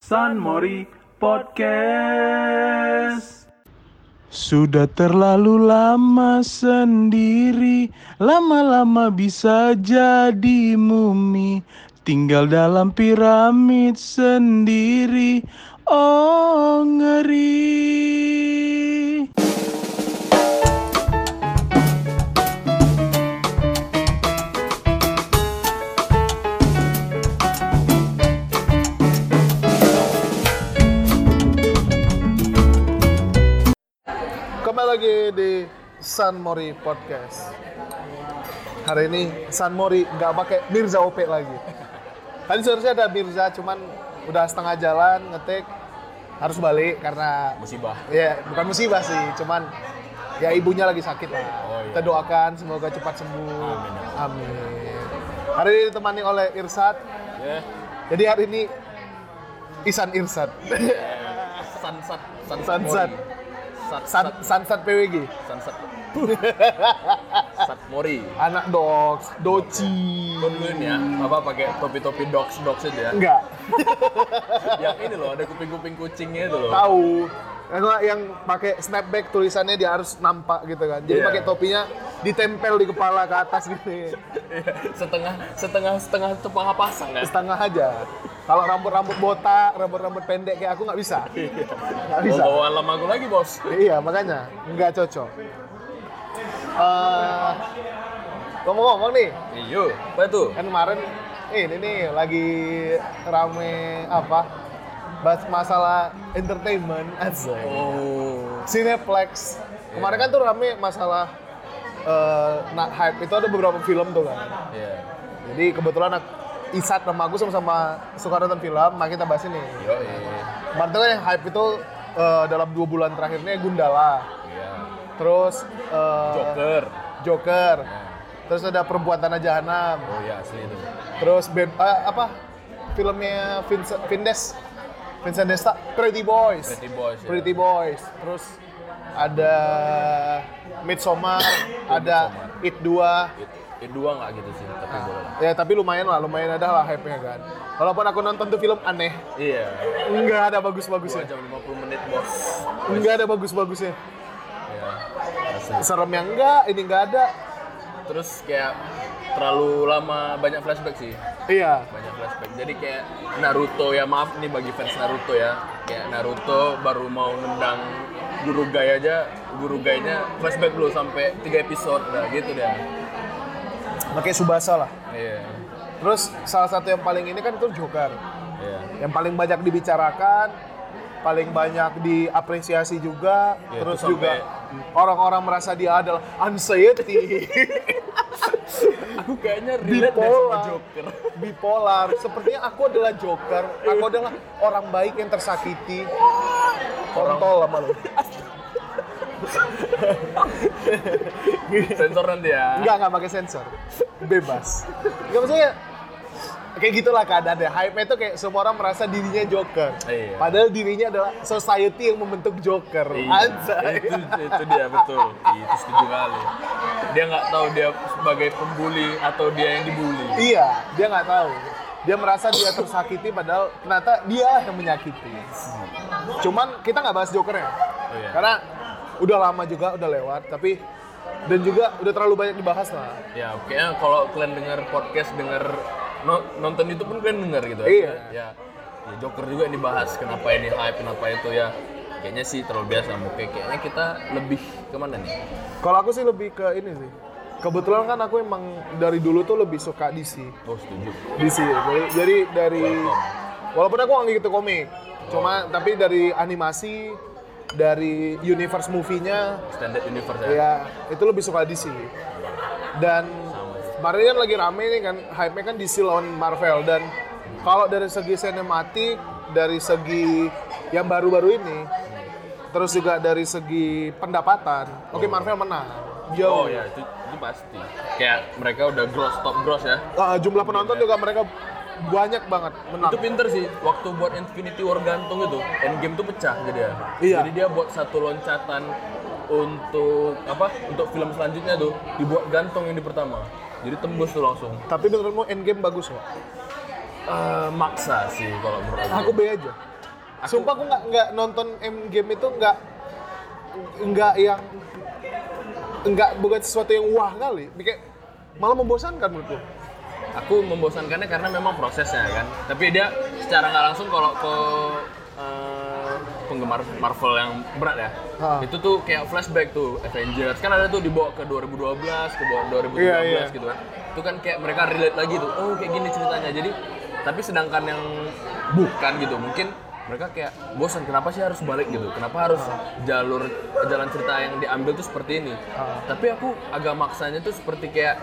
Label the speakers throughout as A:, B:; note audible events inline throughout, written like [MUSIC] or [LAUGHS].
A: San Mori Podcast.
B: Sudah terlalu lama sendiri, lama-lama bisa jadi mumi. Tinggal dalam piramid sendiri, oh ngeri.
C: Kembali lagi di San Mori Podcast. Hari ini San Mori nggak pakai Mirza OP lagi. Tadi seharusnya ada Mirza, cuman udah setengah jalan ngetik harus balik karena
D: musibah
C: ya bukan musibah sih, cuman ya ibunya lagi sakit lah. Kita doakan semoga cepat sembuh. iya. Amin. Hari ini ditemani oleh Irsat. Ya. Jadi hari ini Isan Irsat.
D: sansat sansat
C: Sansat. San, Sansat PWG.
D: sansat sat mori
C: Anak dogs, doci.
D: Tungguin ya apa pakai topi-topi dogs dogs aja ya
C: Enggak,
D: yang ini loh ada kuping-kuping kucingnya itu loh
C: tahu. Yang, yang pakai snapback tulisannya dia harus nampak gitu kan. Jadi
D: Iya.
C: pakai topinya ditempel di kepala ke atas gitu.
D: setengah setengah setengah kepala pasang kan
C: Setengah aja. Kalau rambut-rambut botak, rambut-rambut pendek kayak aku nggak bisa.
D: Iya.
C: Nggak
D: mau
C: bisa.
D: bawa lama aku lagi bos
C: Iya, makanya nggak cocok. Eh, ngomong-ngomong nih,
D: iyo apa itu
C: kan kemarin ini nih lagi rame apa? Bahas masalah entertainment. Asik.
D: oh
C: Cineplex. Kemarin kan tuh rame masalah eh, nak hype itu ada beberapa film tuh kan.
D: ya
C: Jadi kebetulan aku, Isat sama aku sama-sama suka nonton film, makanya kita bahas ini.
D: yo
C: Kemarin tuh kan yang hype itu eh, dalam dua bulan terakhirnya Gundala,
D: iya
C: terus eh,
D: joker
C: Joker, terus ada Perempuan Tanah Jahanam,
D: oh iya asli itu
C: terus Ben- eh, apa filmnya Vincent Vindes, Vincent Desta, Pretty Boys.
D: pretty boys ya.
C: Pretty Boys, terus ada Midsommar, ada It 2.
D: It- it dua nggak gitu sih tapi boleh lah.
C: Ya tapi lumayan lah, lumayan ada lah hype-nya kan. Walaupun aku nonton tuh film aneh,
D: iya
C: enggak ada
D: dua
C: bagus-bagusnya.
D: jam 50 menit bos
C: Enggak ada bagus-bagusnya.
D: Iya, asli.
C: Serem yang enggak, ini enggak ada.
D: terus kayak terlalu lama banyak flashback sih
C: Iya.
D: banyak flashback jadi kayak Naruto ya maaf nih bagi fans Naruto ya kayak Naruto baru mau nendang guru Gai aja guru Gainya flashback dulu sampai tiga episode nah gitu deh
C: Makanya Subasa lah.
D: iya
C: Terus salah satu yang paling ini kan itu Joker.
D: iya
C: Yang paling banyak dibicarakan, paling banyak diapresiasi juga.
D: Ya,
C: terus
D: itu
C: juga
D: sampai-
C: orang-orang merasa dia adalah anxiety.
D: aku kayaknya relate deh sama
C: bipolar,
D: Joker
C: [LAUGHS] bipolar. Sepertinya aku adalah Joker. Aku adalah orang baik yang tersakiti. Kontol sama lu.
D: sensor nanti ya
C: Enggak, enggak pakai sensor. Bebas. Enggak maksudnya kayak gitulah keadaannya. Hype-nya itu kayak semua orang merasa dirinya Joker.
D: Iya.
C: Padahal dirinya adalah society yang membentuk Joker.
D: Iya,
C: Anjay.
D: itu, itu dia betul itu setuju kali dia nggak tahu dia sebagai pembuli atau dia yang dibully
C: Iya, dia nggak tahu. Dia merasa dia tersakiti padahal ternyata dia yang menyakiti. Cuman kita nggak bahas Joker ya.
D: Oh, iya.
C: Karena udah lama juga, udah lewat. Tapi dan juga udah terlalu banyak dibahas lah.
D: Ya, kayaknya kalau kalian dengar podcast, dengar no- nonton YouTube pun kalian dengar gitu.
C: Iya.
D: Ya, ya Joker juga yang dibahas kenapa ini hype, kenapa itu ya. Kayaknya sih terlalu biasa. Oke, kayaknya kita lebih kemana nih?
C: Kalau aku sih lebih ke ini sih. Kebetulan kan aku emang dari dulu tuh lebih suka DC.
D: Oh, setuju.
C: DC. Jadi, jadi dari walaupun aku nggak gitu komik, cuma tapi dari animasi, dari universe movie-nya
D: Standard universe ya.
C: Ya, itu lebih suka DC. Dan kemarin kan lagi rame nih kan, hype-nya kan DC lawan Marvel. Dan kalau dari segi sinematik, dari segi yang baru-baru ini, terus juga dari segi pendapatan, oke Marvel menang.
D: Oh
C: Jauh.
D: ya, itu, itu pasti. Kayak mereka udah gross top gross ya.
C: Ah, jumlah penonton juga mereka banyak banget menang.
D: Itu pinter sih, waktu buat Infinity War gantung itu, Endgame tuh pecah jadi ya.
C: Iya.
D: Jadi dia buat satu loncatan untuk apa? Untuk film selanjutnya tuh dibuat gantung yang di pertama. Jadi tembus tuh langsung.
C: Tapi menurutmu Endgame bagus nggak?
D: Eh, maksa sih kalau menurut aku.
C: Aku B aja. Sumpah aku nggak nggak nonton game itu nggak nggak yang nggak bukan sesuatu yang wah kali. Kayak malah membosankan menurutku.
D: aku membosankannya karena memang prosesnya kan tapi dia secara nggak langsung kalau ke eh, penggemar Marvel yang berat ya
C: Ha.
D: itu tuh kayak flashback tuh Avengers kan ada tuh dibawa ke 2012 ke bawah 2013
C: Iya, iya.
D: gitu kan itu kan kayak mereka relate lagi tuh oh kayak gini ceritanya jadi tapi sedangkan yang bukan gitu mungkin mereka kayak bosan kenapa sih harus balik gitu kenapa harus
C: Ah.
D: jalur jalan cerita yang diambil tuh seperti ini
C: Ah.
D: tapi aku agak maksanya tuh seperti kayak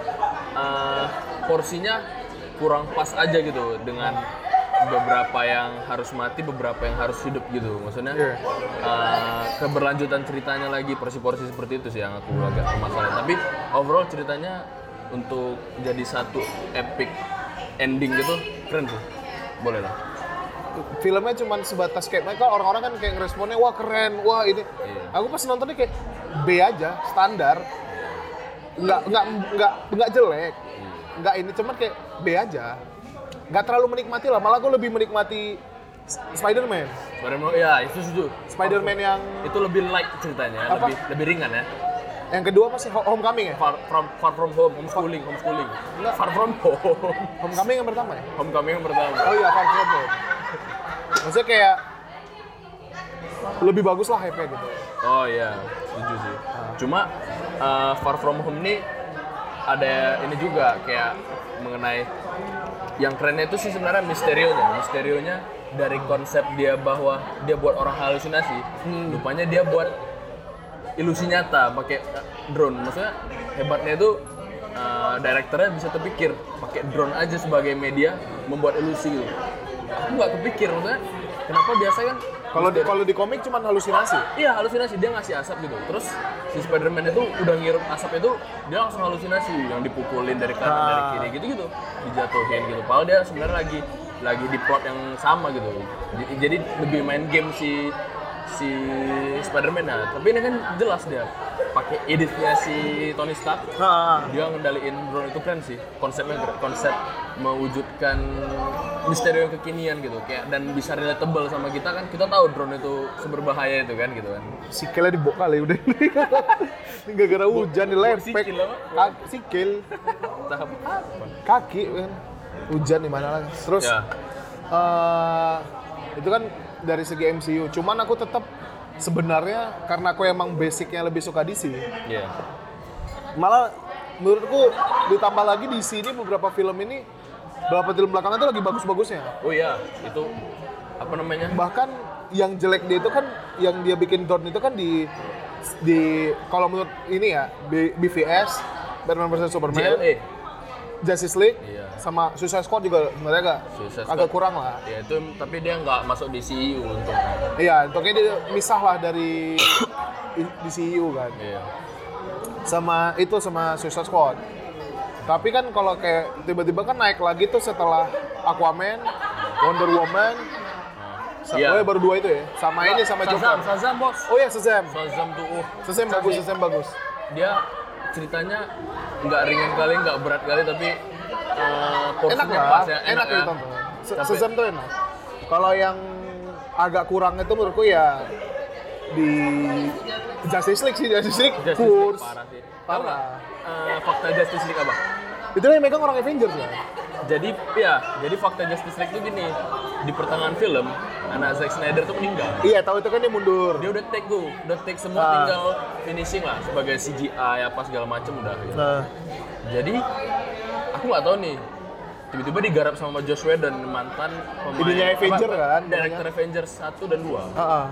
D: eh, porsinya kurang pas aja gitu dengan beberapa yang harus mati beberapa yang harus hidup gitu maksudnya
C: Iya.
D: eh, keberlanjutan ceritanya lagi porsi-porsi seperti itu sih yang aku agak masalah tapi overall ceritanya untuk jadi satu epic ending gitu keren tuh boleh lah
C: Filmnya cuma sebatas kayak mereka orang-orang kan kayak responnya wah keren, wah ini.
D: Iya.
C: Aku pas nontonnya kayak B aja, standar. Nggak nggak nggak nggak jelek. Nggak ini cuman kayak B aja. Nggak terlalu menikmati lah, malah aku lebih menikmati S- Spider-Man.
D: Spider-Man ya itu setuju
C: Spider-Man yang
D: itu lebih light ceritanya
C: Apa?
D: lebih lebih ringan ya
C: yang kedua masih Ho- Homecoming ya?
D: far from far from home homeschooling homeschooling
C: Enggak.
D: far from home [LAUGHS]
C: Homecoming yang pertama ya?
D: homecoming yang pertama
C: Oh iya, Far From Home. Maksudnya kayak lebih bagus lah hype-nya gitu.
D: oh iya setuju sih cuma eh, far from home nih ada ini juga kayak mengenai yang kerennya itu sih sebenarnya misterionya misterionya dari konsep dia bahwa dia buat orang halusinasi
C: Hmm.
D: rupanya dia buat ilusi nyata pakai eh, drone maksudnya hebatnya itu eh, direkturnya bisa terpikir pakai drone aja sebagai media membuat ilusi gitu aku nggak kepikir maksudnya kenapa biasa kan
C: Kalau di kalau di komik cuman halusinasi.
D: Iya halusinasi dia ngasih asap gitu. Terus si Spiderman itu udah ngirup asap itu dia langsung halusinasi yang dipukulin dari kanan dari kiri gitu gitu dijatuhin gitu. Padahal dia sebenarnya lagi lagi di plot yang sama gitu. Jadi, jadi lebih main game si si Spiderman nah. Tapi ini kan jelas dia pakai editnya si Tony Stark
C: Nah,
D: dia ngendaliin drone itu keren sih konsepnya keren. konsep mewujudkan misteri yang kekinian gitu kayak dan bisa relatable sama kita kan kita tahu drone itu seberbahaya itu kan gitu kan
C: sikelnya dibok kali udah. Ini gara-gara hujan
D: bok
C: dilepek.
D: sikil apa?
C: Ka- Sikil,
D: tahap apa
C: kaki kan. Hujan di mana lagi. Terus
D: ya
C: eh, itu kan dari segi MCU. Cuman aku tetap sebenarnya karena aku emang basicnya lebih suka DC.
D: ya
C: malah menurutku ditambah lagi di sini beberapa film ini beberapa film belakangan itu lagi bagus-bagusnya
D: oh iya itu apa namanya
C: bahkan yang jelek dia itu kan yang dia bikin Dorn itu kan di di kalau menurut ini ya B- BVS Batman vs Superman
D: JLA
C: Justice League
D: Iya.
C: sama Suicide Squad juga sebenarnya agak
D: Suicide Squad.
C: agak kurang lah
D: ya itu tapi dia nggak masuk di E CU untungnya
C: iya pokoknya dia misah lah dari [COUGHS] DCU kan
D: iya
C: sama itu sama Suicide Squad. Tapi kan kalau kayak tiba-tiba kan naik lagi tuh setelah Aquaman, Wonder Woman, sa- oh
D: Iya.
C: ya baru dua itu ya. Sama ini sama
D: Shazam
C: Joker.
D: Shazam bos
C: Oh ya Shazam.
D: Shazam tuh uh
C: Shazam bagus, Shazam bagus.
D: dia ceritanya nggak ringan kali nggak berat kali tapi eh, porsinya
C: Enak lah,
D: pas
C: enak,
D: ya
C: ya
D: ya.
C: ditonton. Se-
D: Tapi-
C: Shazam tuh enak. Kalau yang agak kurang itu menurutku ya di Justice League sih Justice League
D: Justice League
C: kurs
D: parah sih Tahu
C: parah.
D: nggak, eh, fakta Justice League apa
C: itu yang megang orang Avengers ya
D: jadi ya jadi fakta Justice League tuh gini di pertengahan film anak Zack Snyder tuh meninggal
C: iya tahu itu kan dia mundur
D: dia udah take go udah take semua
C: Ah.
D: tinggal finishing lah sebagai CGI apa segala macem udah gitu.
C: nah
D: jadi aku nggak tahu nih tiba-tiba digarap sama Josh Whedon mantan pemain
C: Ininya Avenger
D: apa,
C: kan,
D: director Avengers 1 dan 2
C: ah, ah.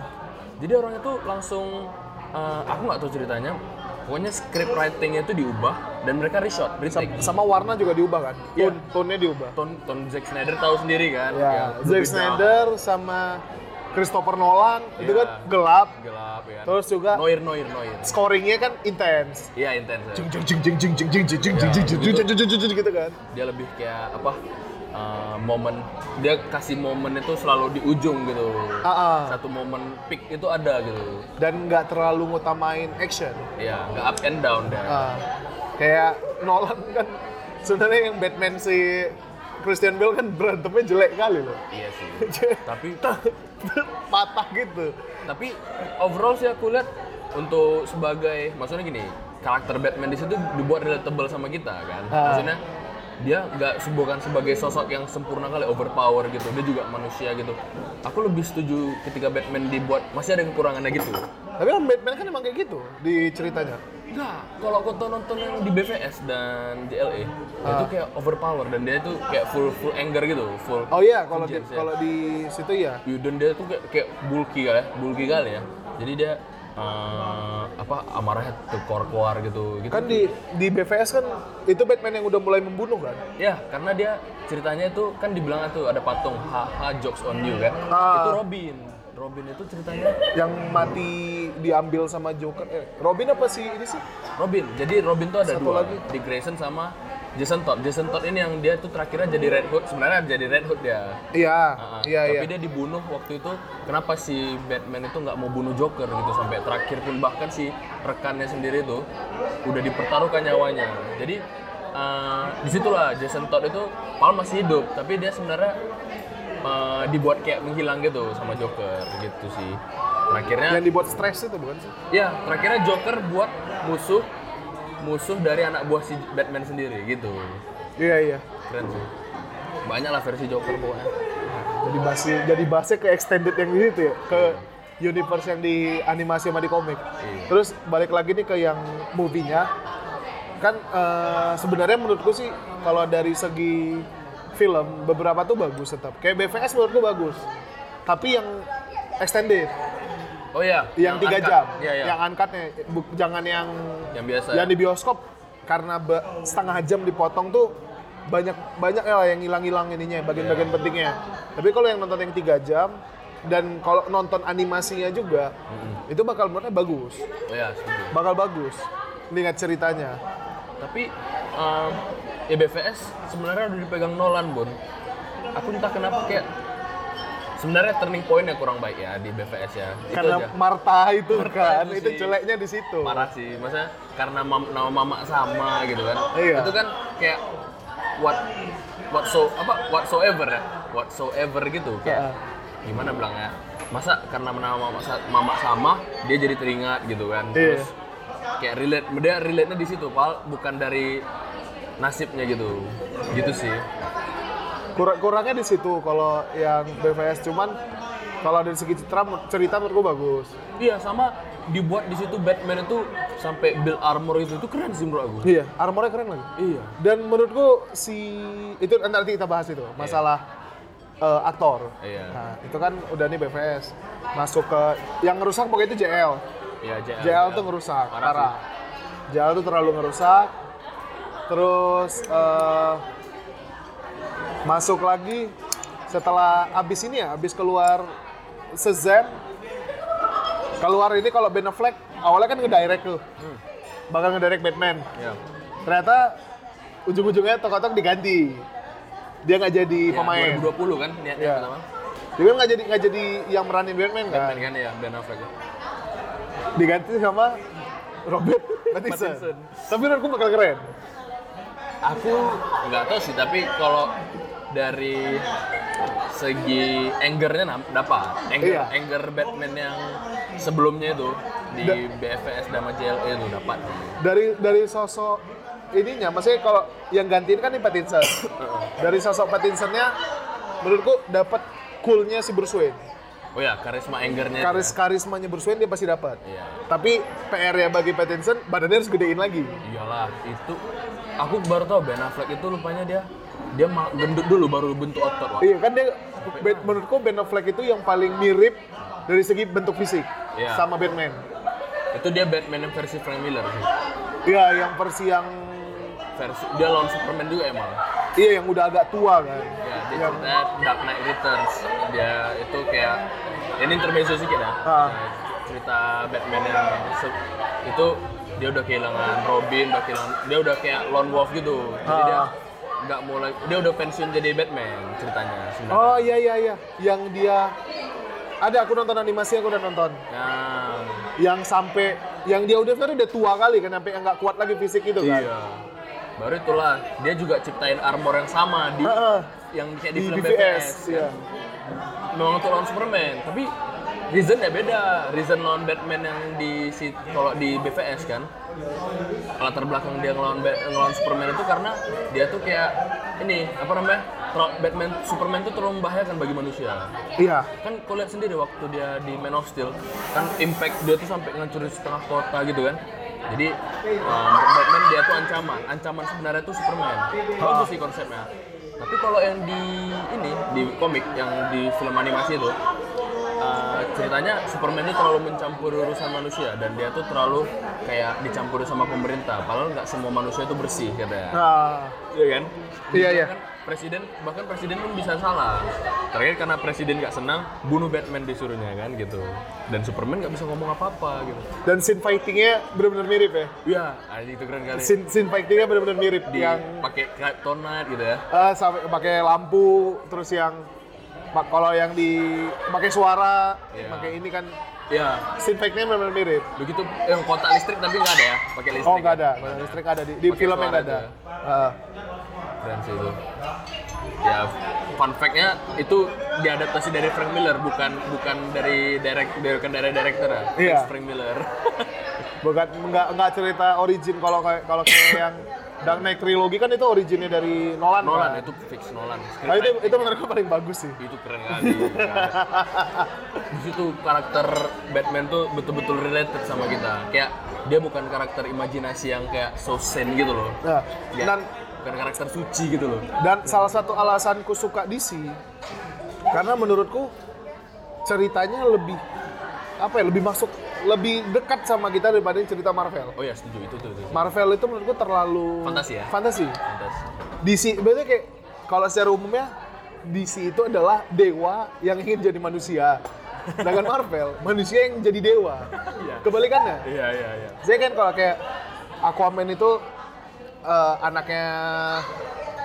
D: jadi orangnya tuh langsung eh, aku nggak tahu ceritanya pokoknya script writingnya tuh diubah dan mereka reshot retake
C: sama warna juga diubah kan
D: Iya.
C: tone tone-nya diubah
D: Ton, Ton Zack Snyder tahu sendiri kan yang
C: ya
D: lebih
C: Zack
D: dark,
C: Snyder sama Christopher Nolan itu
D: Iya.
C: kan gelap
D: gelap ya kan.
C: terus juga
D: noir noir noir
C: scoringnya kan intens
D: iya intens ya.
C: jeng jeng jeng jeng jeng jeng jeng jeng jeng jeng jeng jeng jeng jeng jeng jeng jeng gitu kan
D: dia lebih kayak apa eh, momen dia kasih momen itu selalu di ujung gitu
C: Ah, ah.
D: satu momen peak itu ada gitu
C: dan nggak terlalu ngutamain action
D: ya nggak up and down deh
C: Ah. kayak Nolan kan sebenarnya yang Batman si Christian Bale kan berantemnya jelek kali loh. [LAUGHS]
D: Iya sih. tapi
C: Patah gitu.
D: tapi overall sih aku lihat untuk sebagai maksudnya gini karakter Batman di situ dibuat relatable sama kita kan
C: Ah.
D: maksudnya dia nggak se- bukan sebagai sosok yang sempurna kali overpower gitu dia juga manusia gitu aku lebih setuju ketika Batman dibuat masih ada kekurangannya gitu
C: Tapi kan Batman kan emang kayak gitu di ceritanya.
D: Enggak, kalau aku tuh nonton yang di BVS dan JLE dia
C: Ah.
D: itu kayak overpower dan dia itu kayak full full anger gitu full
C: Oh iya, kalau di,
D: vengeance, ya.
C: kalau di situ ya.
D: Yudon dia tuh kayak, kayak bulky kali ya, bulky kali ya. Jadi dia eh, apa amarahnya tuh keluar gitu gitu.
C: Kan di di BVS kan itu Batman yang udah mulai membunuh kan.
D: Ya, karena dia ceritanya itu kan dibilang tuh ada patung HH jokes on you kan.
C: Ah.
D: Itu Robin. Robin itu ceritanya
C: Yang mati diambil sama Joker. Eh, Robin apa sih ini sih?
D: Robin. Jadi Robin tuh ada
C: Satu
D: dua
C: lagi.
D: di Grayson sama Jason Todd. Jason Todd ini yang dia tuh terakhirnya jadi Red Hood. Sebenarnya jadi Red Hood dia.
C: Iya,
D: Ah,
C: iya iya.
D: Tapi dia dibunuh waktu itu. Kenapa si Batman itu nggak mau bunuh Joker gitu sampai terakhir pun bahkan si rekannya sendiri itu udah dipertaruhkan nyawanya. Jadi eh, disitulah Jason Todd itu Paul masih hidup, tapi dia sebenarnya eh, dibuat kayak menghilang gitu sama Joker gitu sih. Terakhirnya
C: Yang dibuat stres itu bukan sih?
D: ya terakhirnya Joker buat musuh musuh dari anak buah si Batman sendiri gitu.
C: Iya iya.
D: Keren sih. Banyak lah versi Joker pokoknya.
C: Jadi basnya jadi basnya ke extended yang itu ya, ke universe yang di animasi sama di komik.
D: Iya.
C: Terus balik lagi nih ke yang movie-nya. Kan eh, sebenarnya menurutku sih kalau dari segi film beberapa tuh bagus tetap. Kayak BVS menurutku bagus. Tapi yang extended,
D: Oh iya,
C: yang tiga
D: angkat.
C: jam,
D: Iya, iya.
C: yang angkatnya, Bu- jangan yang
D: yang biasa ya.
C: yang di bioskop karena ba- setengah jam dipotong tuh banyak banyak lah yang hilang-hilang ininya bagian-bagian
D: Iya.
C: pentingnya tapi kalau yang nonton yang tiga jam dan kalau nonton animasinya juga itu bakal menurutnya bagus
D: oh ya setuju.
C: bakal bagus lihat ceritanya
D: tapi um, ya BVS sebenarnya udah dipegang Nolan bun aku entah kenapa kayak sebenarnya turning point-nya kurang baik ya di BVS ya itu
C: karena
D: aja
C: Martha itu kan
D: itu
C: itu
D: sih.
C: jeleknya di situ
D: parah sih maksudnya karena mam- nama mama sama gitu kan
C: Iya.
D: itu kan kayak what what so apa whatsoever ya whatsoever gitu kayak
C: Heeh.
D: gimana bilangnya masa karena nama mama, sa- mama sama dia jadi teringat gitu kan
C: Iya.
D: terus kayak relate dia relate nya di situ pal bukan dari nasibnya gitu gitu sih
C: Kurang- kurangnya di situ kalau yang BVS cuman kalau dari segi cerita cerita menurutku bagus
D: iya sama dibuat di situ Batman itu sampai build armor itu itu keren sih menurut aku
C: iya armornya keren lagi
D: iya
C: Dan menurutku si itu nanti kita bahas itu masalah eh, aktor.
D: Iya.
C: Nah, itu kan udah nih BVS masuk ke yang ngerusak pokoknya itu JL.
D: iya JL,
C: JL tuh ngerusak
D: Parah
C: parah.
D: sih.
C: JL tuh terlalu ngerusak. Terus eh, masuk lagi setelah abis ini ya, abis keluar Shazam keluar ini kalau Ben Affleck awalnya kan ngedirect tuh.
D: Hmm.
C: Bakal ngedirect Batman
D: Iya.
C: ternyata ujung-ujungnya tok-tok diganti dia nggak jadi
D: Iya,
C: pemain
D: 2020 kan niatnya
C: Iya.
D: pertama
C: dia kan nggak jadi nggak jadi yang meranin Batman kan
D: Batman kan ya Ben Affleck ya.
C: diganti sama
D: [LAUGHS]
C: Robert Pattinson
D: Pattinson.
C: tapi menurutku bakal keren
D: aku nggak tahu sih tapi kalau dari segi angernya nam- dapat anger
C: Iya.
D: anger Batman yang sebelumnya itu di BFS sama JLE itu dapat
C: dari dari sosok ininya maksudnya kalau yang gantiin kan nih Pattinson
D: [COUGHS]
C: dari sosok Pattinsonnya menurutku dapat coolnya si Bruce Wayne
D: oh ya karisma angernya itu
C: karis
D: ya.
C: karismanya Bruce Wayne dia pasti dapat
D: Iya.
C: tapi PR ya bagi Pattinson badannya harus gedein lagi
D: iyalah itu aku baru tahu Ben Affleck itu lupanya dia dia ma- gendut dulu baru bentuk otot Wak.
C: Iya kan dia Ben- menurutku Ben Affleck itu yang paling mirip dari segi bentuk fisik
D: Iya.
C: sama Batman.
D: itu dia Batman yang versi Frank Miller sih.
C: Iya yang versi yang
D: versi dia lawan Superman juga ya, emang
C: iya yang udah agak tua kan.
D: ya dia
C: Yang-
D: ceritanya Dark Knight Returns dia itu kayak ini intermezzo sedikit ya
C: Ah.
D: cerita Batman yang se- itu dia udah kehilangan Robin udah kehilangan dia udah kayak lone wolf gitu jadi dia
C: Ah.
D: nggak mulai dia udah pensiun jadi Batman ceritanya sebenarnya
C: Oh iya iya iya yang dia ada aku nonton animasi aku udah nonton
D: Nah,
C: yang sampai yang dia udah kan udah tua kali kan sampai yang nggak kuat lagi fisik itu kan.
D: iya Baru itulah dia juga ciptain armor yang sama di
C: Heeh.
D: yang kayak di,
C: di
D: film
C: BVS
D: BVS.
C: ya.
D: memang untuk lawan Superman tapi reasonnya beda reason lawan Batman yang di si- kalau di BVS kan latar belakang dia ngelawan Bat- ngelawan Superman itu karena dia tuh kayak ini apa namanya terlalu- Batman Superman tuh terlalu membahayakan bagi manusia
C: Iya.
D: kan kau lihat sendiri waktu dia di Man of Steel kan impact dia tuh sampai ngancurin setengah kota gitu kan jadi um, Batman dia tuh ancaman ancaman sebenarnya tuh Superman bagus sih konsepnya tapi kalau yang di ini di komik yang di film animasi itu uh, ceritanya Superman itu terlalu mencampuri urusan manusia dan dia tuh terlalu kayak dicampuri sama pemerintah padahal nggak semua manusia itu bersih katanya
C: Nah,
D: Iya kan?
C: Iya,
D: Bahkan
C: iya.
D: Presiden bahkan presiden pun bisa salah. Terakhir karena presiden nggak senang, bunuh Batman disuruhnya kan gitu. Dan Superman nggak bisa ngomong apa-apa gitu.
C: dan scene fightingnya benar-benar mirip ya.
D: Iya, ah, itu keren kali.
C: Scene, scene fightingnya benar-benar mirip
D: Di
C: yang
D: pakai kryptonite gitu ya.
C: eh, sampai pakai lampu terus yang mak- kalau yang di pakai suara,
D: Iya.
C: pakai ini kan
D: Iya.
C: scene fightingnya benar-benar mirip.
D: Begitu yang kotak listrik tapi nggak ada ya, pakai listrik.
C: Oh nggak
D: ya.
C: ada, Padahal listrik ada di, di
D: Pakai
C: film yang
D: suara
C: nggak ada. Eh,
D: aja.
C: Heeh.
D: Keren sih itu. Ya, fun fact-nya itu diadaptasi dari Frank Miller, bukan bukan dari direct bukan dari director ya.
C: Iya.
D: Thanks, Frank Miller. [LAUGHS]
C: bukan nggak nggak cerita origin kalau kayak kalau kayak yang Dark Knight trilogi kan itu originnya dari Nolan.
D: Nolan
C: kan?
D: itu fix Nolan.
C: Nah, itu itu menurut gue paling bagus sih.
D: itu keren kali di situ karakter Batman tuh betul-betul related sama kita kayak dia bukan karakter imajinasi yang kayak so sane gitu loh
C: Nah,
D: Dia
C: dan
D: bukan karakter suci gitu loh
C: dan salah satu alasanku suka DC karena menurutku ceritanya lebih apa ya lebih masuk lebih dekat sama kita daripada cerita Marvel.
D: oh ya setuju itu tuh itu, itu.
C: Marvel itu menurutku terlalu
D: Fantasi ya?
C: Fantasi.
D: Pantas.
C: DC berarti kayak kalau secara umumnya DC itu adalah dewa yang ingin jadi manusia. Dengan Marvel, [LAUGHS] manusia yang jadi dewa. Kebalikannya.
D: iya iya iya
C: Saya kan kalau kayak Aquaman itu eh, anaknya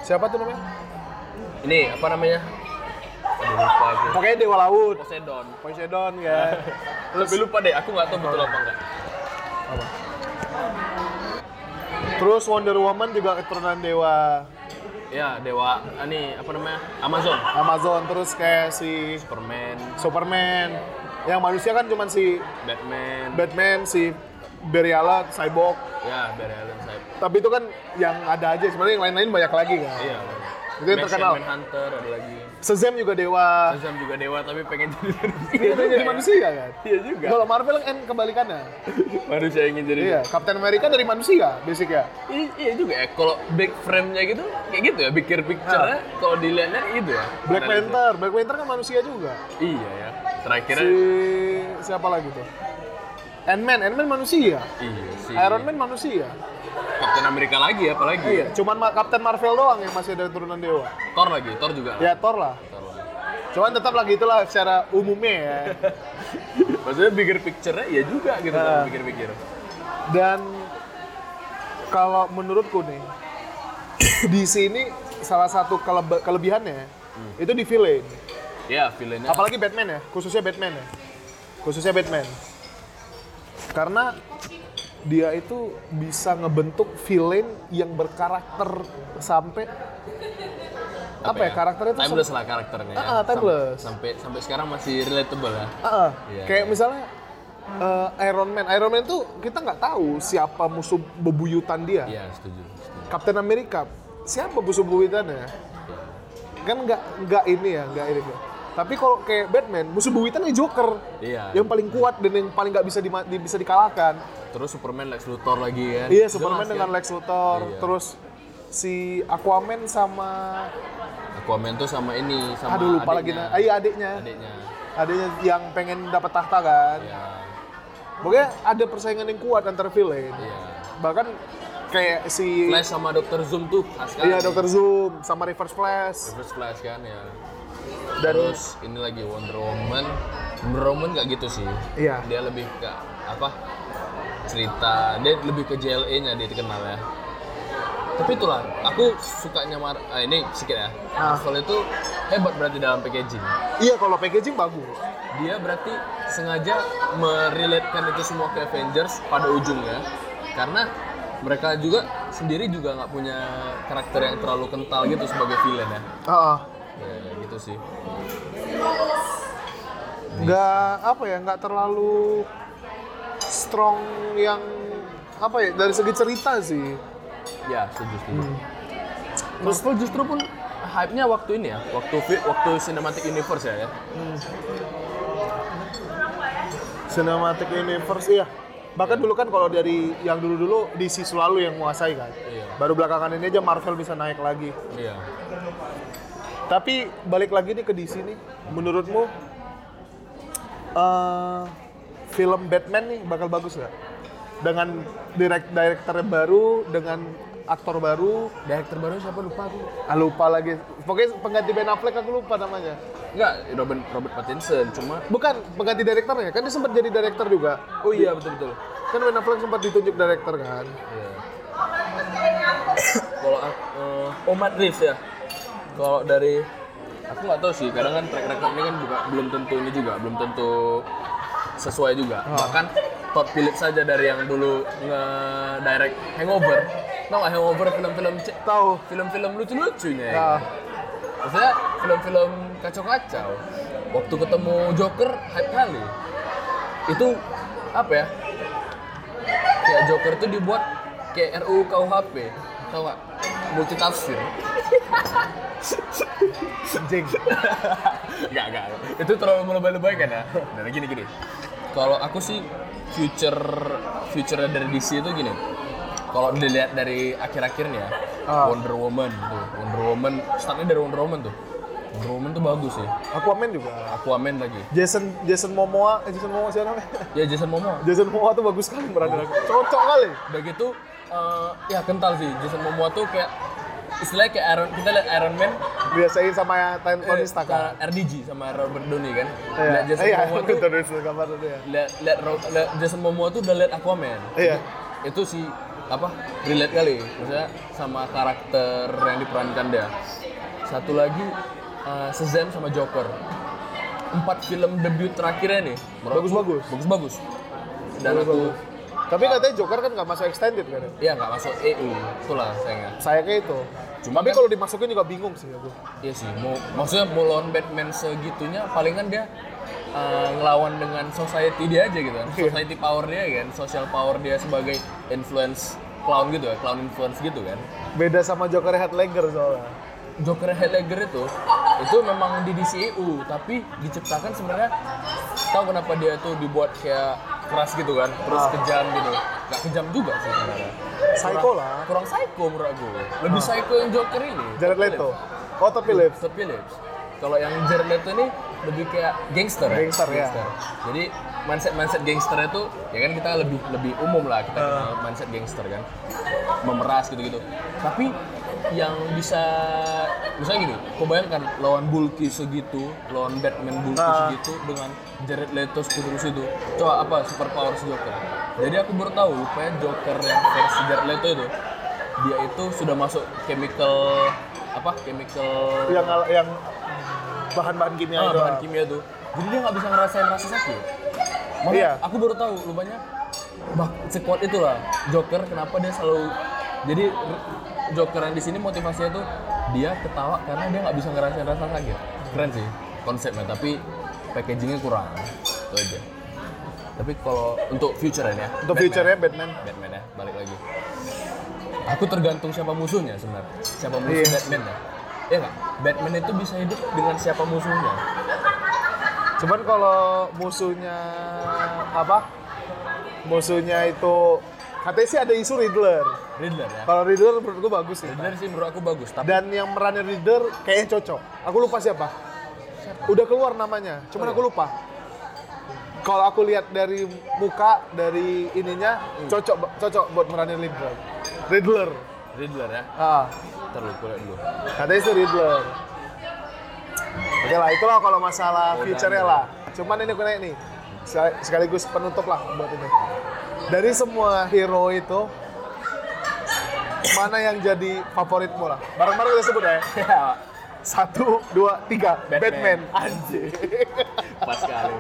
C: siapa tuh namanya?
D: ini apa namanya aduh lupa aku
C: Pokoknya Dewa Laut,
D: Poseidon
C: Poseidon ya.
D: lebih lupa deh aku nggak tahu betul apa enggak
C: Terus Wonder Woman juga keturunan dewa
D: ya dewa ah, ini apa namanya Amazon
C: Amazon terus kayak si
D: Superman
C: Superman. Yang manusia kan cuman si
D: Batman
C: Batman, si Beriala, Cyborg.
D: ya Barry Allen saya
C: Tapi itu kan yang ada aja, sebenarnya yang lain-lain banyak lagi kan.
D: iya
C: Itu yang terkenal.
D: Hunter ada lagi
C: Shazam juga dewa.
D: Azam juga dewa tapi pengen
C: [LAUGHS] Dia
D: jadi manusia.
C: tuh Iya, jadi manusia kan.
D: Iya juga.
C: Kalau Marvel kan kebalikannya.
D: Manusia ingin jadi.
C: Iya, Captain America dari manusia basicnya.
D: Iya, iya juga ya. Kalau back frame-nya gitu kayak gitu ya, bigger picture-nya kalau dilihatnya gitu ya.
C: Black
D: Analisa.
C: Panther, Black Panther kan manusia juga.
D: Iya ya. Terakhirnya
C: Si siapa lagi tuh? Ant-Man, Ant-Man manusia.
D: iya sih.
C: Iron Man manusia.
D: Captain America lagi ya, apalagi.
C: Iya, cuman Ma- Captain Marvel doang yang masih ada turunan dewa.
D: Thor lagi, Thor juga. lah.
C: Ya Thor lah.
D: Thor lagi.
C: Cuman tetap lagi itulah secara umumnya ya.
D: Maksudnya bigger picture-nya iya juga gitu
C: Nah.
D: kan, pikir-pikir.
C: Dan kalau menurutku nih [COUGHS] di sini salah satu keleb- kelebihannya itu di villain.
D: Ya, villain-nya
C: Apalagi Batman ya, khususnya Batman ya. Khususnya Batman. Karena dia itu bisa ngebentuk villain yang berkarakter sampai apa, ya, karakternya tuh
D: timeless
C: sem-
D: lah karakternya ya.
C: Ah, ah, timeless.
D: Sam- sampai sampai sekarang masih relatable ya.
C: Ah, ah.
D: Iya,
C: kayak
D: iya.
C: misalnya eh, Iron Man. Iron Man tuh kita nggak tahu siapa musuh bebuyutan dia.
D: Iya, setuju. setuju.
C: Captain America siapa musuh bebuyutannya? Kan nggak nggak ini ya, nggak ini. ya. Tapi kalau kayak Batman, musuh bebuyutannya Joker.
D: Iya.
C: Yang paling kuat dan yang paling nggak bisa dima- di- bisa dikalahkan.
D: Terus Superman Lex Luthor lagi kan.
C: Iya,
D: Jelas,
C: Superman
D: kan?
C: dengan Lex Luthor,
D: Iya.
C: terus si Aquaman sama
D: Aquaman tuh sama ini sama
C: aduh lupa lagi
D: adiknya.
C: nah, iya adiknya.
D: adiknya
C: Adiknya yang pengen dapat tahta kan.
D: ya
C: Pokoknya ada persaingan yang kuat antar villain.
D: iya
C: Bahkan kayak si
D: Flash sama Dokter Zoom tuh khas kan
C: Iya, Dr. Zoom sama Reverse Flash.
D: Reverse Flash kan ya
C: Dan-
D: terus ini lagi Wonder Woman Wonder Woman nggak gitu sih
C: Iya.
D: dia lebih ke apa cerita dia lebih ke JLA nya dia terkenal ya tapi itulah aku sukanya Mar ah, ini sedikit ya
C: Ah.
D: Marvel itu hebat berarti dalam packaging
C: Iya, kalau packaging bagus.
D: dia berarti sengaja merelatekan itu semua ke Avengers pada ujungnya karena mereka juga sendiri juga nggak punya karakter yang terlalu kental gitu sebagai villain ya.
C: Heeh.
D: Ya, gitu sih.
C: nggak apa ya nggak terlalu strong yang apa ya dari segi cerita sih
D: Ya, setuju setuju. Marvel justru pun hype-nya waktu ini ya, waktu fi- waktu cinematic universe ya. ya.
C: cinematic universe iya bahkan dulu kan kalau dari yang dulu-dulu DC selalu yang menguasai kan
D: Iya.
C: baru belakangan ini aja Marvel bisa naik lagi
D: Iya.
C: tapi balik lagi nih ke DC nih menurutmu eh film Batman nih bakal bagus nggak dengan direct director baru dengan aktor baru
D: Director baru siapa lupa aku.
C: ah, lupa lagi pokoknya pengganti Ben Affleck aku lupa namanya
D: Enggak, Robin Robert Pattinson cuma
C: bukan pengganti direkturnya kan dia sempat jadi director juga
D: Oh iya, betul betul.
C: kan Ben Affleck sempat ditunjuk director kan
D: Iya. Kalau ak- eh, oh Matt Reeves ya. Kalau dari aku nggak tahu sih. Kadang kan track record ini kan juga belum tentu ini juga belum tentu sesuai juga. Bahkan Todd Phillips saja dari yang dulu nge-direct Hangover. Tau nggak Hangover film-film C-
C: tahu
D: film-film lucu-lucunya ya.
C: Ah.
D: Maksudnya film-film kacau-kacau. Waktu ketemu Joker, hype kali. Itu apa ya? Kayak Joker tuh dibuat kayak RUU KUHP. Tau gak? Multi tafsir. [LAUGHS]
C: anjing
D: Enggak, enggak. Itu terlalu melebay-lebay kan ya? Dan gini gini. Kalau aku sih future future dari DC itu gini. Kalau dilihat dari akhir-akhirnya ya,
C: Ah.
D: Wonder Woman tuh. Wonder Woman startnya dari Wonder Woman tuh. Wonder Woman tuh bagus sih.
C: Aquaman juga
D: Aquaman lagi.
C: Jason Jason Momoa eh, Jason Momoa siapa namanya [LAUGHS]
D: Ya Jason Momoa.
C: Jason Momoa tuh bagus sekali berada cocok kali
D: Udah gitu eh, ya kental sih Jason Momoa tuh kayak istilahnya kayak Iron kita lihat Iron Man
C: biasain sama Tan- Tony
D: eh,
C: Stark
D: sama RDG sama Robert Downey kan.
C: Iya,
D: Lihat Jason
C: iya, [LAUGHS]
D: Momoa tuh
C: betul Tony Stark gambar tuh ya.
D: lihat lihat Ro- lihat Jason Momoa tuh udah lihat Aquaman.
C: Iya.
D: Itu sih apa relate kali maksudnya sama karakter yang diperankan dia. Satu lagi eh, Shazam sama Joker. Empat film debut terakhirnya nih. menurut aku
C: Bagus-bagus.
D: Bagus-bagus. Dan aku
C: Tapi katanya Joker kan nggak masuk extended kan ya?
D: ya nggak masuk EU itulah sayangnya
C: Sayangnya itu.
D: Cuma
C: Tapi
D: kan-
C: kalau dimasukin juga bingung sih aku.
D: Iya sih, mau, maksudnya mau lawan Batman segitunya, paling kan dia uh, ngelawan dengan society dia aja gitu kan.
C: [LAUGHS]
D: Society power dia kan, social power dia sebagai influence clown gitu ya, clown influence gitu kan.
C: Beda sama Joker Headlanger soalnya.
D: Joker Heath Ledger itu, itu memang di DCEU, tapi diciptakan sebenarnya tahu kenapa dia tuh dibuat kayak keras gitu kan, terus
C: Ah.
D: kejam gitu. Nggak kejam juga sih sebenarnya.
C: Psycho
D: Kurang-
C: lah. Ah.
D: Kurang psycho menurut aku. Lebih psycho yang Joker ini.
C: Jared Leto. Oh, Todd Phillips.
D: Todd Phillips. Kalau yang Jared Leto ini lebih kayak gangster ya.
C: Gangster, ya.
D: Jadi mindset mindset gangster itu ya kan kita lebih lebih umum lah kita
C: Uh.
D: kenal mindset gangster kan. Memeras gitu-gitu. Tapi yang bisa misalnya gini, kau bayangkan lawan Bulky segitu, lawan Batman Bulky
C: Ah.
D: segitu dengan Jared Leto terus itu. Coba apa super power si Joker. Jadi aku baru tahu rupanya Joker yang versi Jared Leto itu dia itu sudah masuk chemical apa chemical
C: Yang yang bahan-bahan kimia
D: Ah,
C: itu.
D: bahan kimia tuh. Jadi dia nggak bisa ngerasain rasa sakit. ya? Makanya
C: Iya.
D: aku baru tahu rupanya bak sekuat itulah Joker kenapa dia selalu jadi r- Joker yang di sini motivasinya tuh dia ketawa karena dia nggak bisa ngerasain rasa sakit. Keren sih konsepnya tapi packagingnya kurang. Itu aja. Tapi kalau untuk future ya.
C: Untuk
D: Batman.
C: future-nya Batman.
D: Batman ya, balik lagi. Aku tergantung siapa musuhnya sebenarnya. Siapa musuh
C: Iya.
D: Batman ya? Iya nggak? Batman itu bisa hidup dengan siapa musuhnya.
C: Cuman kalau musuhnya apa? Musuhnya itu katanya sih ada isu Riddler.
D: Riddler ya.
C: Kalau Riddler menurut gua bagus sih.
D: Riddler sih menurut aku bagus, tapi
C: Dan yang meranin Riddler kayaknya cocok. Aku lupa siapa. Udah keluar namanya,
D: Oh, iya.
C: cuman aku lupa. Kalau aku lihat dari muka, dari ininya,
D: Hmm.
C: cocok cocok buat meranin Riddler. Riddler.
D: Riddler ya.
C: Ah,
D: Ntar lu kuliah
C: [LAUGHS]
D: dulu.
C: katanya sih Riddler. Oke lah, itulah kalau masalah
D: Udah,
C: future-nya
D: udah.
C: lah. Cuman ini aku nanya nih, sekali- sekaligus penutup lah buat ini. Dari semua hero itu, mana yang jadi favoritmu lah? Bareng-bareng kita sebut ya. Satu, dua, tiga. Batman.
D: Batman.
C: Anjir.
D: Pas sekali.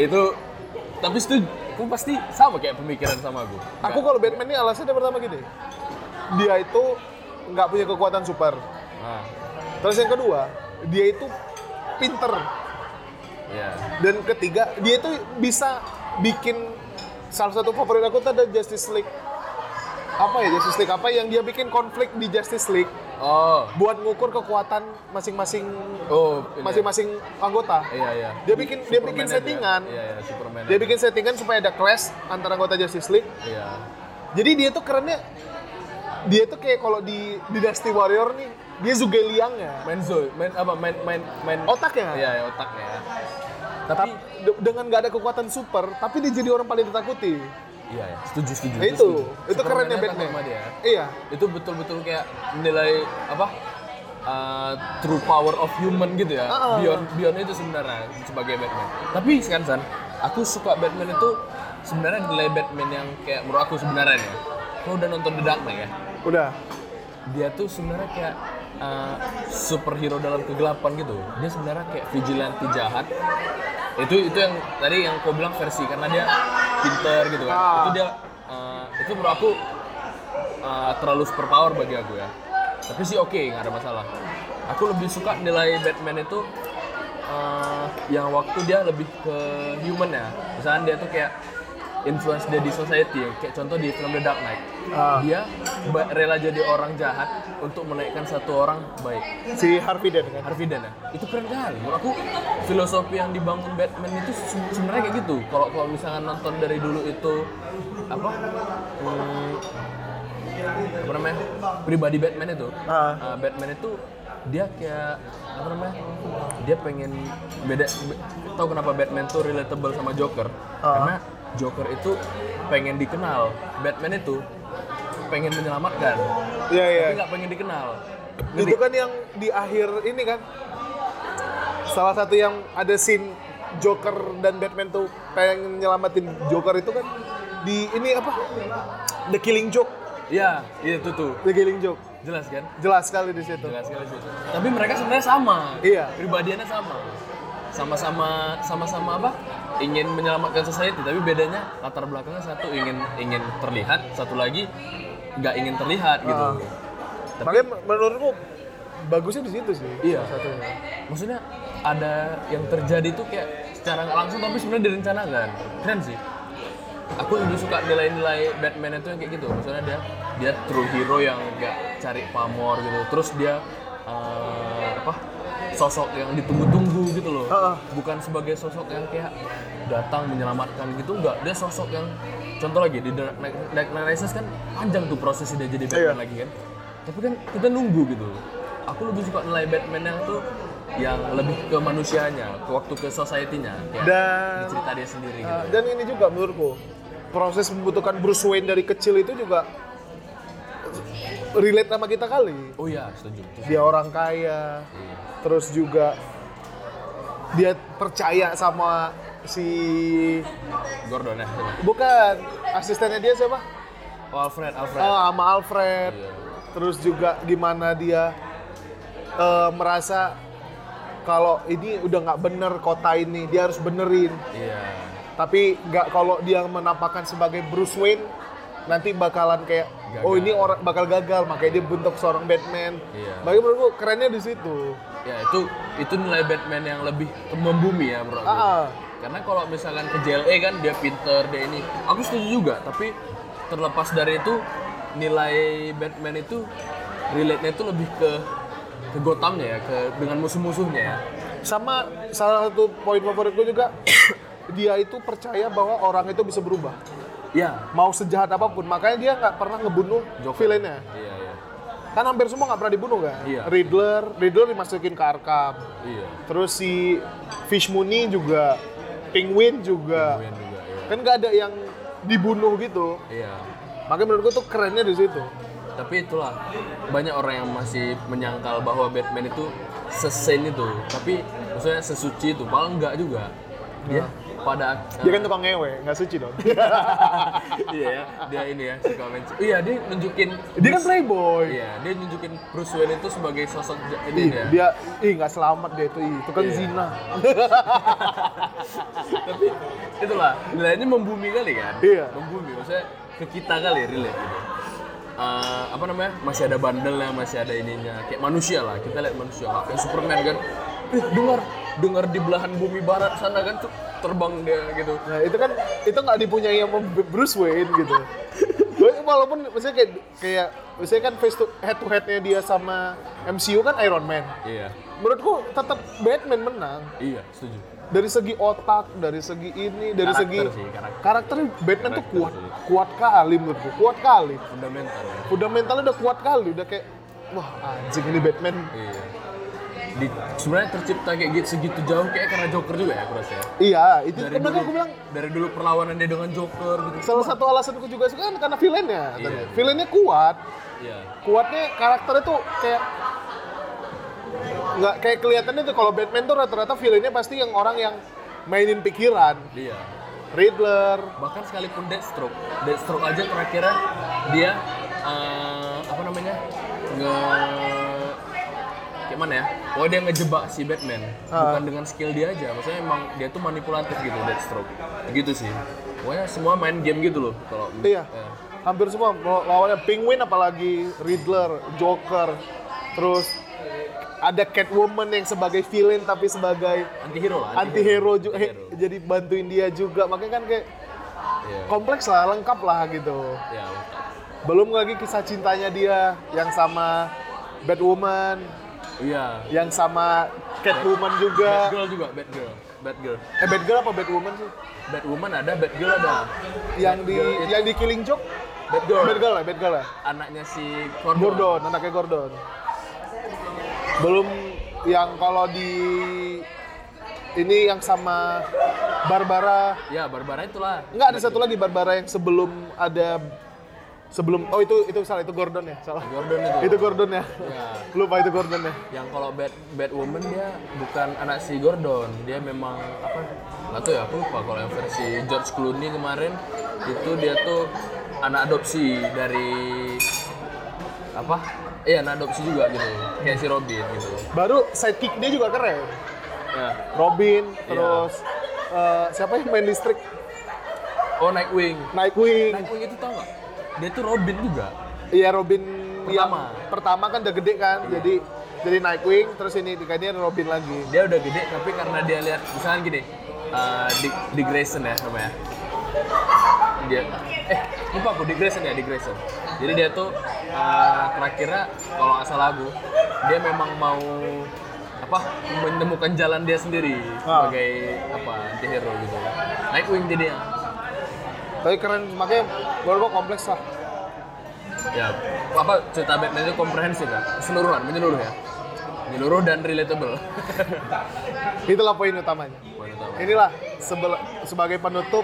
D: itu tapi itu aku pasti sama kayak pemikiran sama aku.
C: [LAUGHS] Aku kalau Batman ini alasannya pertama gini, dia itu nggak punya kekuatan super.
D: Nah,
C: Terus yang kedua, dia itu pinter.
D: ya.
C: Dan ketiga, dia itu bisa bikin salah satu favorit aku tuh ada Justice League. Apa ya Justice League? Apa yang dia bikin konflik di Justice League
D: Oh,
C: buat ngukur kekuatan masing-masing
D: oh, ini.
C: masing-masing anggota.
D: Iya, iya.
C: Dia bikin- dia bikin
D: aja.
C: settingan.
D: Iya, iya, Superman.
C: Dia
D: aja.
C: bikin settingan supaya ada clash antara anggota Justice League
D: Iya.
C: Jadi dia tuh kerennya dia tuh kayak kalau di Dynasty Warrior nih, dia Zugeliang ya.
D: Main Zoe, main apa? Main main main
C: Otaknya.
D: Iya, ya, otaknya.
C: Tapi de- dengan nggak ada kekuatan super, tapi dia jadi orang paling ditakuti.
D: Iya, ya. Setuju, setuju.
C: Nah, itu,
D: setuju.
C: itu kerennya
D: Superman-nya
C: Batman.
D: takut sama dia.
C: Iya.
D: Itu betul-betul kayak nilai apa? Uh, true power of human gitu ya.
C: Heeh.
D: Beyond beyond itu sebenarnya sebagai Batman. Tapi kan San, aku suka Batman itu sebenarnya nilai Batman yang kayak menurut aku sebenarnya nih ya. Kau udah nonton The Dark Knight ya?
C: Udah.
D: dia tuh sebenarnya kayak uh, superhero dalam kegelapan gitu. Dia sebenarnya kayak vigilante jahat. Itu itu yang tadi yang kau bilang versi karena dia pinter gitu kan.
C: Ah.
D: Itu dia uh, itu menurut aku uh, terlalu superpower bagi aku ya. Tapi sih oke nggak ada masalah. Aku lebih suka nilai Batman itu uh, yang waktu dia lebih ke human ya. Misalnya dia tuh kayak influence dia di society kayak contoh di film The Dark Knight
C: Ah.
D: dia ba- rela jadi orang jahat untuk menaikkan satu orang baik
C: Si Harvey Dent kan.
D: Harvey Dent ya itu keren kali menurut aku filosofi yang dibangun Batman itu se- sebenarnya kayak gitu kalau kalau misalnya nonton dari dulu itu apa hmm, apa namanya pribadi Batman itu
C: Ah.
D: eh, Batman itu dia kayak apa namanya dia pengen beda be- tahu kenapa Batman tuh relatable sama Joker
C: Ah.
D: karena Joker itu pengen dikenal Batman itu pengen menyelamatkan
C: Iya, iya.
D: tapi nggak pengen dikenal
C: Itu kan yang di akhir ini kan. Salah satu yang ada scene Joker dan Batman tuh pengen nyelamatin Joker itu kan di ini apa? The Killing Joke.
D: ya itu tuh
C: The Killing Joke.
D: jelas kan
C: Jelas sekali di situ.
D: jelas sekali sih. Tapi mereka sebenarnya sama.
C: Iya.
D: Pribadiannya sama. Sama-sama sama-sama apa? Ingin menyelamatkan society, tapi bedanya latar belakangnya satu ingin ingin terlihat, satu lagi nggak ingin terlihat gitu. Tapi-
C: Makanya menurutku bagusnya di situ sih.
D: Iya.
C: Satunya.
D: Maksudnya ada yang terjadi tuh kayak secara nggak langsung tapi sebenarnya direncanakan. Keren sih. Aku lebih suka nilai-nilai Batman itu yang kayak gitu. Maksudnya dia dia true hero yang nggak cari pamor gitu. Terus dia eh, apa? Sosok yang ditunggu-tunggu gitu loh.
C: Heeh.
D: Bukan sebagai sosok yang kayak datang menyelamatkan gitu enggak. Dia sosok yang contoh lagi di Dark Knight Dark Knight Rises kan panjang tuh prosesnya dia jadi Batman
C: Iya.
D: lagi kan. Tapi kan kita nunggu gitu. Aku lebih suka nilai Batman yang tuh yang lebih ke manusianya, ke waktu ke society-nya, kayak
C: Dan-
D: di cerita dia sendiri gitu.
C: Uh, dan ini juga menurutku proses membutuhkan Bruce Wayne dari kecil itu juga relate sama kita kali.
D: oh iya, setuju. Terus-
C: Dia orang kaya, terus juga dia percaya sama si
D: Gordon ya. sama.
C: bukan asistennya dia siapa?
D: Oh, Alfred, Alfred.
C: Ah, sama Alfred.
D: Iya.
C: Terus juga gimana dia eh, merasa kalau ini udah nggak bener kota ini, dia harus benerin.
D: Iya.
C: tapi nggak kalau dia menampakkan sebagai Bruce Wayne nanti bakalan kayak
D: Gagal.
C: oh ini orang bakal gagal makanya dia bentuk seorang Batman.
D: Iya.
C: Bagi menurutku kerennya di situ.
D: Ya itu itu nilai Batman yang lebih membumi ya, Bro.
C: Ah, ah.
D: Karena kalau misalkan ke JLE kan dia pinter, dia ini. Aku setuju juga, tapi terlepas dari itu nilai Batman itu relate-nya itu lebih ke ke Gotham-nya ya, ke dengan musuh-musuhnya ya.
C: sama salah satu poin favoritku juga [COUGHS] dia itu percaya bahwa orang itu bisa berubah
D: Iya.
C: mau sejahat apapun makanya dia nggak pernah ngebunuh
D: Joker.
C: villainnya
D: Iya, iya.
C: kan hampir semua nggak pernah dibunuh kan
D: Iya.
C: Riddler Riddler dimasukin ke Arkham
D: Iya.
C: terus si Fish Mooney juga Penguin juga
D: Gwen juga, iya.
C: kan nggak ada yang dibunuh gitu
D: Iya.
C: Makanya menurutku tuh kerennya di situ.
D: Tapi itulah banyak orang yang masih menyangkal bahwa Batman itu sesen itu, tapi maksudnya sesuci itu, malah enggak juga. Dia pada eh,
C: Dia kan tukang ngewe, nggak suci
D: [LAUGHS]
C: dong.
D: iya ya, dia ini ya suka main. Iya, dia nunjukin
C: dia kan playboy.
D: Iya, dia nunjukin Bruce Wayne itu sebagai sosok ja-
C: Ih,
D: ini dia.
C: dia ih nggak selamat dia itu, ih, itu kan
D: Iya.
C: zina.
D: tapi itulah nilainya membumi kali kan
C: Iya.
D: membumi maksudnya ke kita kali relate gitu Eh, apa namanya masih ada bandelnya masih ada ininya kayak manusia lah kita lihat manusia lah. kayak Superman kan eh dengar dengar di belahan bumi barat sana kan tuh terbang dia gitu
C: Nah itu kan itu nggak dipunyai sama Bruce Wayne gitu. Walaupun- Walaupun misalnya kayak kayak misalnya kan face to head to headnya dia sama MCU kan Iron Man.
D: iya
C: Menurutku tetap Batman menang
D: iya setuju
C: dari segi otak, dari segi ini, dari
D: Karakter
C: segi
D: sih, karakter.
C: Batman tuh
D: Karakter
C: kuat,
D: sih.
C: kuat kali menurutku, kuat kali.
D: fundamental ya.
C: Udah mentalnya udah kuat kali, udah kayak wah anjing ini Batman.
D: iya di, sebenarnya tercipta kayak gitu segitu jauh kayak karena Joker juga ya aku rasa ya.
C: Iya, itu
D: dari
C: kenapa
D: dulu
C: aku bilang
D: dari dulu perlawanan dia dengan Joker gitu
C: salah satu alasanku juga suka kan karena villainnya.
D: Iya.
C: nya Villainnya kuat,
D: iya
C: kuatnya karakternya tuh kayak nggak kayak kelihatannya tuh kalau Batman tuh rata-rata villainnya pasti yang orang yang mainin pikiran
D: dia
C: Riddler
D: iya. bahkan sekalipun Deathstroke Deathstroke aja terakhirnya dia eh, apa namanya nge kayak mana ya oh dia ngejebak si Batman bukan dengan skill dia aja maksudnya emang dia tuh manipulatif gitu Deathstroke gitu sih pokoknya semua main game gitu loh kalau
C: iya
D: eh,
C: hampir semua Law- lawannya Penguin apalagi Riddler Joker terus ada Catwoman yang sebagai villain tapi sebagai
D: anti-hero lah
C: anti hero juga
D: Anti-hero.
C: jadi bantuin dia juga makanya kan kayak
D: Iya.
C: kompleks lah lengkap lah gitu
D: Iya, lengkap.
C: belum lagi kisah cintanya dia yang sama Batwoman
D: iya
C: yang sama Catwoman juga.
D: Batgirl juga Batgirl Batgirl
C: Eh Batgirl apa Batwoman sih?
D: Batwoman ada Batgirl ada
C: Yang di yang di Killing Joke?
D: Batgirl.
C: Batgirl ya, Batgirl ya.
D: anaknya si Gordon,
C: Gordon, anaknya Gordon. Belum yang kalau di ini yang sama Barbara.
D: ya Barbara itulah
C: Enggak ada satu lagi Barbara yang sebelum ada sebelum oh itu itu salah itu Gordon ya salah
D: Nah, Gordon itu.
C: itu Gordon ya
D: Iya.
C: lupa itu Gordon ya
D: yang kalau Bat Batwoman dia bukan anak si Gordon dia memang apa nggak tahu ya aku lupa kalau yang versi George Clooney kemarin itu dia tuh anak adopsi dari apa iya anak adopsi juga gitu kayak si Robin gitu
C: baru sidekick dia juga keren
D: ya
C: Robin terus eh, siapa yang main listrik
D: oh Nightwing
C: Nightwing
D: Nightwing itu tau nggak dia tuh Robin juga
C: Iya Robin
D: Pertama.
C: yang pertama kan udah gede kan, jadi jadi Nightwing, terus ini dikaitin Robin lagi.
D: dia udah gede tapi karena dia lihat misalnya gini eh Dick, Dick Grayson ya namanya dia eh lupa aku Dick Grayson ya Dick Grayson jadi dia tuh eh, terakhirnya kalau nggak salah aku dia memang mau apa menemukan jalan dia sendiri
C: Ah.
D: sebagai apa anti hero gitu Nightwing jadi ya
C: Tapi keren, makanya menurut gua kompleks lah.
D: ya apa cerita Batman itu komprehensif ya keseluruhan menyeluruh ya menyeluruh dan relatable [LAUGHS]
C: Itulah poin utamanya.
D: Boleh tahu.
C: Inilah sebel- sebagai penutup,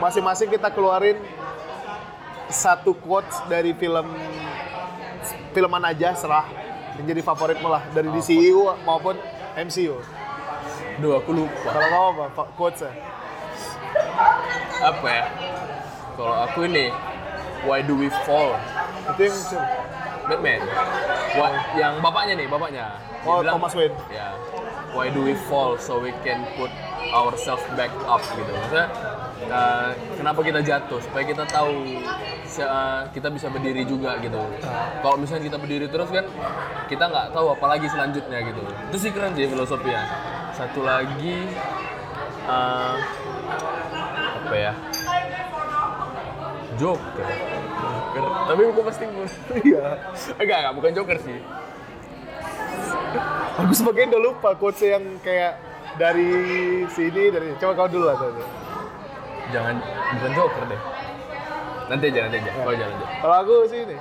C: masing-masing kita keluarin satu quotes dari film film mana aja serah yang jadi favoritmu lah dari DCU maupun MCU.
D: Duh aku lupa
C: Kalau kamu apa fa- quotesnya?
D: apa ya kalau aku ini why do we fall
C: Itu yang
D: Batman Why- yang bapaknya nih bapaknya Dia
C: Oh, Thomas Wayne.
D: ya why do we fall so we can put ourselves back up gitu maksudnya uh, kenapa kita jatuh supaya kita tahu se- uh, kita bisa berdiri juga gitu kalau misalnya kita berdiri terus kan kita nggak tahu apa lagi selanjutnya gitu itu sih keren sih filosofinya satu lagi uh, apa ya Joker Joker tapi buku pasti [LAUGHS]
C: iya.
D: Enggak, enggak, bukan Joker sih.
C: Aku sebagian udah lupa quotes yang kayak dari sini dari coba kau dulu lah tadi.
D: Jangan, bukan Joker deh. Nanti aja, nanti aja. Kau jalan aja.
C: Kalau aku sini,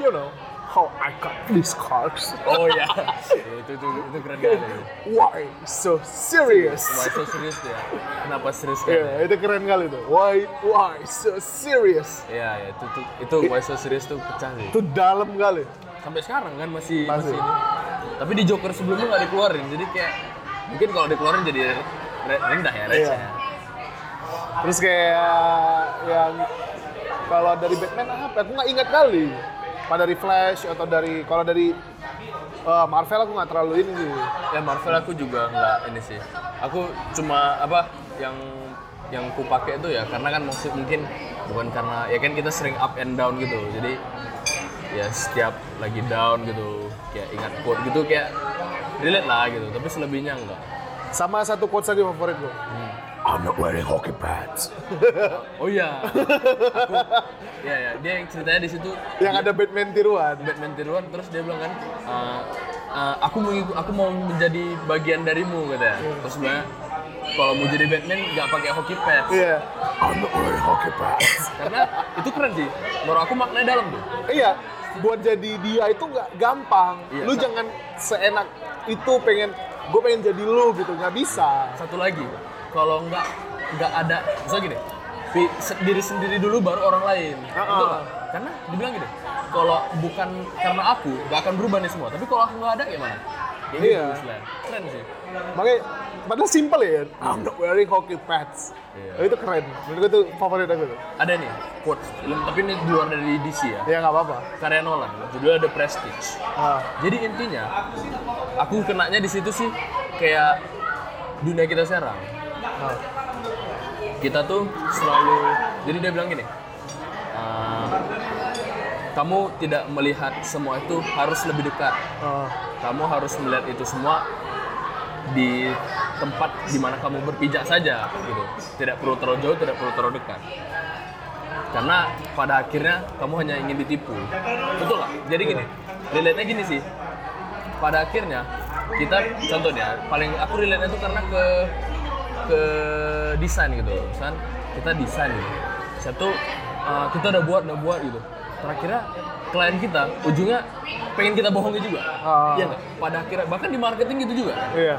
C: you know how I got these cars.
D: Oh [LAUGHS] ya, itu itu itu keren kali.
C: Why so serious?
D: Why so serius dia? Kenapa serius
C: Iya,
D: kan?
C: itu keren kali tuh. Why why so serious?
D: Iya, ya, itu itu itu why so serius tuh pecah sih.
C: Itu dalam kali.
D: Sampai sekarang kan masih
C: Masih.
D: masih. ini. Tapi di Joker sebelumnya nggak dikeluarin, jadi kayak mungkin kalau dikeluarin jadi re- rendah ya, receh.
C: Iya.
D: ya.
C: Terus kayak yang kalau dari Batman apa? Aku nggak ingat kali. Pada dari Flash atau dari kalau dari eh, Marvel aku nggak terlalu ini sih.
D: Ya Marvel aku juga nggak ini sih. aku cuma apa yang yang ku pakai itu ya karena kan maksud mungkin bukan karena ya kan kita sering up and down gitu jadi ya setiap lagi down gitu kayak ingat quote gitu kayak relate lah gitu tapi selebihnya enggak
C: Sama satu quotes lagi favorit gue.
A: I'm not wearing hockey pads.
D: oh iya aku ya ya dia yang ceritanya di situ
C: Yang ada Batman tiruan.
D: Batman tiruan terus dia bilang kan "Eh, eh, aku mengiku- aku mau menjadi bagian darimu katanya
C: Iya.
D: terus sebenarnya kalau mau jadi Batman nggak pakai hockey pads
C: Iya.
A: I'm not wearing hockey pads.
D: karena itu keren sih menurut aku maknanya dalam tuh
C: Iya. Buat jadi dia itu nggak gampang.
D: Iya.
C: Lu jangan seenak itu pengen gue pengen jadi lu gitu nggak bisa.
D: satu lagi kalau nggak nggak ada misalnya gini pi- se- diri sendiri dulu baru orang lain
C: Ah, ah.
D: Betul nggak? karena dibilang gini kalau bukan karena aku nggak akan berubah nih semua tapi kalau aku nggak ada gimana ya gitu
C: Iya.
D: istilahnya. keren sih
C: Makanya padahal simple ya. I'm not wearing hockey pads.
D: Iya.
C: Itu keren. Menurut gue itu favorit aku tuh.
D: ada nih quotes film tapi ini di luar dari DC ya
C: Ya nggak apa-apa.
D: karya Nolan judulnya The Prestige
C: Ah.
D: Jadi intinya, aku kenanya di situ sih kayak dunia kita sekarang.
C: Ah.
D: Kita tuh selalu, jadi dia bilang gini, "Eh, kamu tidak melihat semua itu harus lebih dekat.
C: Ah.
D: Kamu harus melihat itu semua di tempat di mana kamu berpijak saja, gitu. Tidak perlu terlalu jauh, tidak perlu terlalu dekat. Karena pada akhirnya kamu hanya ingin ditipu. Betul nggak? Jadi gini, relate-nya gini sih pada akhirnya kita contohnya paling aku relate itu karena ke ke desain gitu kan kita desain gitu satu uh, kita udah buat udah buat gitu terakhirnya klien kita ujungnya pengen kita bohongi juga
C: Ah.
D: Iya nggak? pada akhirnya bahkan di marketing gitu juga kan?
C: Iya.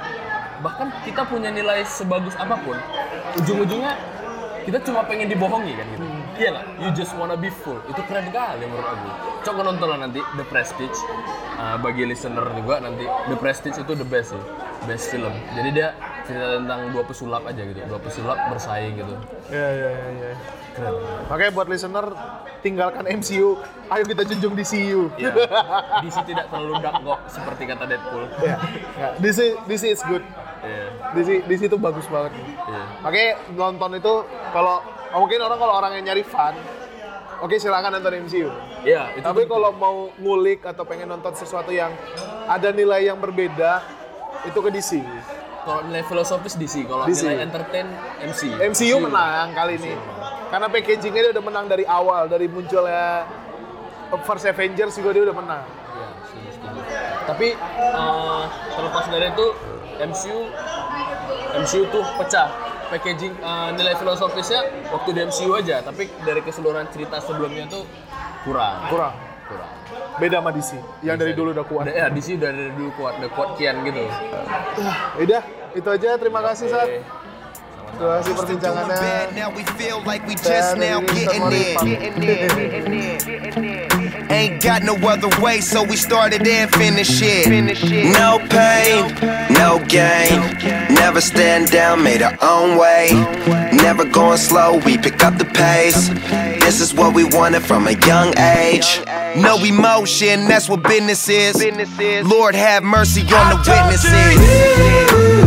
D: bahkan kita punya nilai sebagus apapun ujung-ujungnya kita cuma pengen dibohongi kan
C: Hmm.
D: gitu iya nggak you just wanna be full itu keren kali menurut aku coba nonton lah nanti The Prestige Uh, bagi listener juga nanti The Prestige itu the best sih best film jadi dia cerita tentang dua pesulap aja gitu dua pesulap bersaing gitu
C: Iya, iya, iya, iya.
D: keren
C: Makanya buat listener, tinggalkan MCU, ayo kita junjung DCU. [LAUGHS]
D: Iya. DC tidak terlalu dark kok seperti kata Deadpool
C: Iya. Ya, DC, DC is good.
D: Iya,
C: DC, DC itu bagus banget.
D: iya.
C: Makanya nonton itu, kalau oh, mungkin orang kalau orang yang nyari fun, oke silakan nonton MCU.
D: Iya, itu
C: Tapi
D: tuh-
C: kalau mau ngulik atau pengen nonton sesuatu yang ada nilai yang berbeda, itu ke DC.
D: kalau nilai filosofis DC kalau
C: DC.
D: nilai entertain MC
C: MCU menang kali ini. Karena packagingnya dia udah menang dari awal, dari munculnya First Avengers juga dia udah menang.
D: Iya, setuju, setuju. Tapi eh, terlepas dari itu MCU MCU tuh pecah packaging eh, nilai filosofisnya waktu di MCU aja, tapi dari keseluruhan cerita sebelumnya tuh kurang.
C: Kurang.
D: Kurang.
C: Beda sama DC, yang dari dulu udah kuat.
D: Ada ya, DC udah dari dulu kuat, udah kuat kian gitu.
C: Udah, itu aja. Terima kasih, Sat.
D: Eh,
C: Terima kasih perbincangannya.
E: bad, now we feel like we
C: Saya
E: just now
C: dari Mister
E: getting
C: Morifang.
E: it. Ain't got no other way, so we started and finished it. No pain, no gain. Never stand down, made our own way. Never going slow, we pick up the pace. This is what we wanted from a young age. No emotion, that's what business is. Lord have mercy on the witnesses.